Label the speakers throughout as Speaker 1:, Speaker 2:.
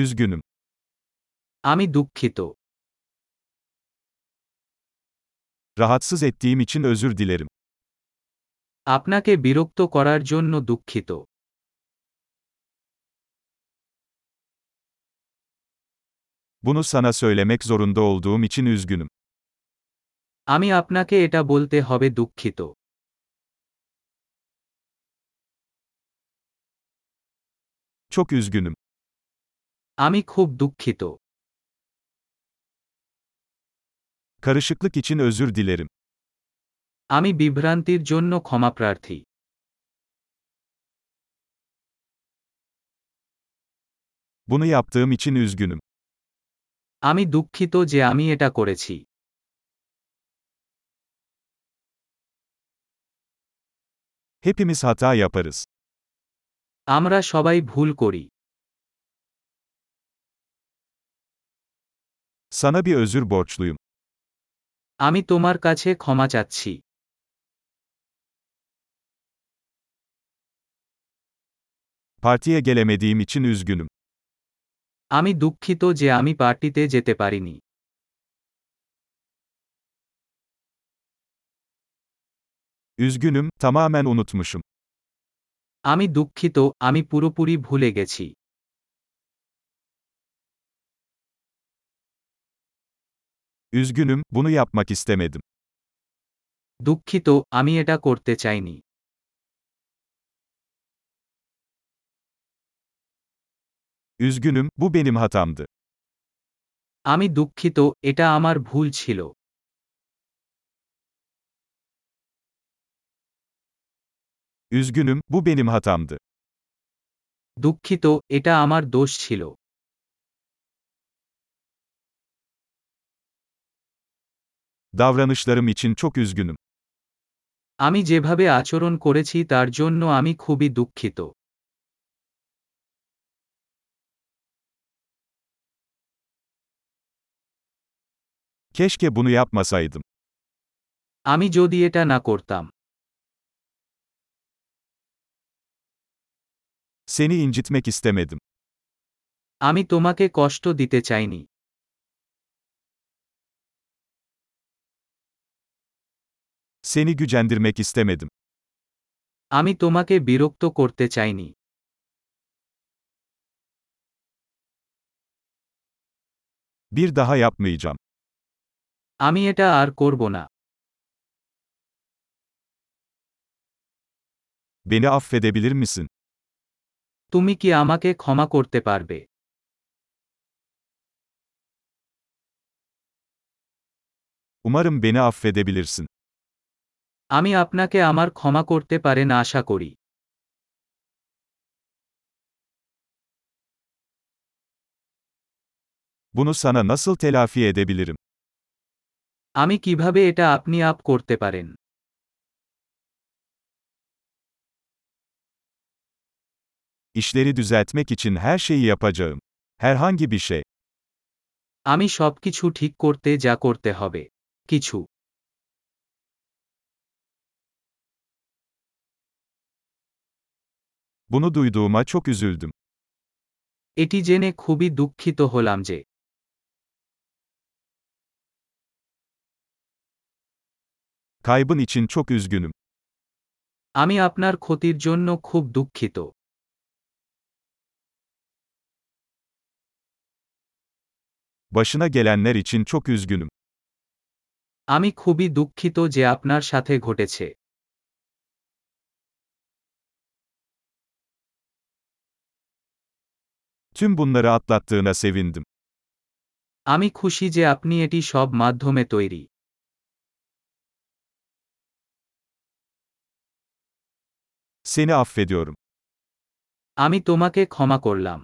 Speaker 1: Üzgünüm.
Speaker 2: আমি দুঃখিত
Speaker 1: Rahatsız ettiğim için özür dilerim.
Speaker 2: আপনাকে বিরক্ত করার জন্য দুঃখিত
Speaker 1: Bunu sana söylemek zorunda olduğum için üzgünüm.
Speaker 2: আমি আপনাকে এটা বলতে হবে দুঃখিত
Speaker 1: Çok üzgünüm.
Speaker 2: আমি খুব দুঃখিত
Speaker 1: Karışıklık için özür dilerim.
Speaker 2: আমি বিভ্রান্তির জন্য ক্ষমাপ্রার্থী
Speaker 1: Bunu yaptığım için üzgünüm.
Speaker 2: আমি দুঃখিত যে আমি এটা করেছি
Speaker 1: Hepimiz hata yaparız.
Speaker 2: আমরা সবাই ভুল করি
Speaker 1: Sana bir özür borçluyum.
Speaker 2: আমি তোমার কাছে ক্ষমা চাচ্ছি
Speaker 1: Partiye gelemediğim için üzgünüm.
Speaker 2: আমি দুঃখিত যে আমি পার্টিতে যেতে পারিনি
Speaker 1: Üzgünüm, tamamen unutmuşum.
Speaker 2: আমি দুঃখিত আমি পুরোপুরি ভুলে গেছি
Speaker 1: Üzgünüm, bunu yapmak istemedim.
Speaker 2: দুঃখিত আমি এটা করতে চাইনি
Speaker 1: Üzgünüm, bu benim hatamdı.
Speaker 2: আমি দুঃখিত এটা আমার ভুল ছিল
Speaker 1: Üzgünüm, bu benim hatamdı.
Speaker 2: দুঃখিত এটা আমার দোষ ছিল
Speaker 1: Davranışlarım için çok üzgünüm.
Speaker 2: আমি যেভাবে আচরণ করেছি তার জন্য আমি খুবই দুঃখিত
Speaker 1: Keşke bunu yapmasaydım.
Speaker 2: আমি যদি এটা না করতাম
Speaker 1: Seni incitmek istemedim.
Speaker 2: আমি তোমাকে কষ্ট দিতে চাইনি
Speaker 1: Seni gücendirmek istemedim.
Speaker 2: আমি তোমাকে বিরক্ত করতে চাইনি
Speaker 1: Bir daha yapmayacağım.
Speaker 2: আমি এটা আর করব না
Speaker 1: Beni affedebilir misin?
Speaker 2: তুমি কি আমাকে ক্ষমা করতে পারবে
Speaker 1: Umarım beni affedebilirsin.
Speaker 2: আমি আপনাকে আমার ক্ষমা করতে পারেন আশা করি
Speaker 1: Bunu sana nasıl telafi edebilirim?
Speaker 2: আমি কিভাবে এটা আপনি আপ করতে পারেন
Speaker 1: İşleri düzeltmek için her şeyi yapacağım. Herhangi bir şey.
Speaker 2: আমি সবকিছু ঠিক করতে যা করতে হবে কিছু
Speaker 1: Bunu duyduğuma çok üzüldüm.
Speaker 2: এটি জেনে খুবই দুঃখিত হলাম যে
Speaker 1: Kaybın için çok üzgünüm.
Speaker 2: আমি আপনার ক্ষতির জন্য খুব দুঃখিত
Speaker 1: Başına gelenler için çok üzgünüm.
Speaker 2: আমি খুবই দুঃখিত যে আপনার সাথে ঘটেছে
Speaker 1: Tüm bunları atlattığına sevindim.
Speaker 2: আমি খুশি যে আপনি এটি সব মাধ্যমে তৈরি
Speaker 1: Seni affediyorum.
Speaker 2: আমি তোমাকে ক্ষমা করলাম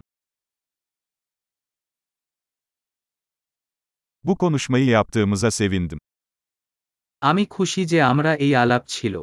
Speaker 1: Bu konuşmayı yaptığımıza sevindim.
Speaker 2: আমি খুশি যে আমরা এই আলাপ ছিল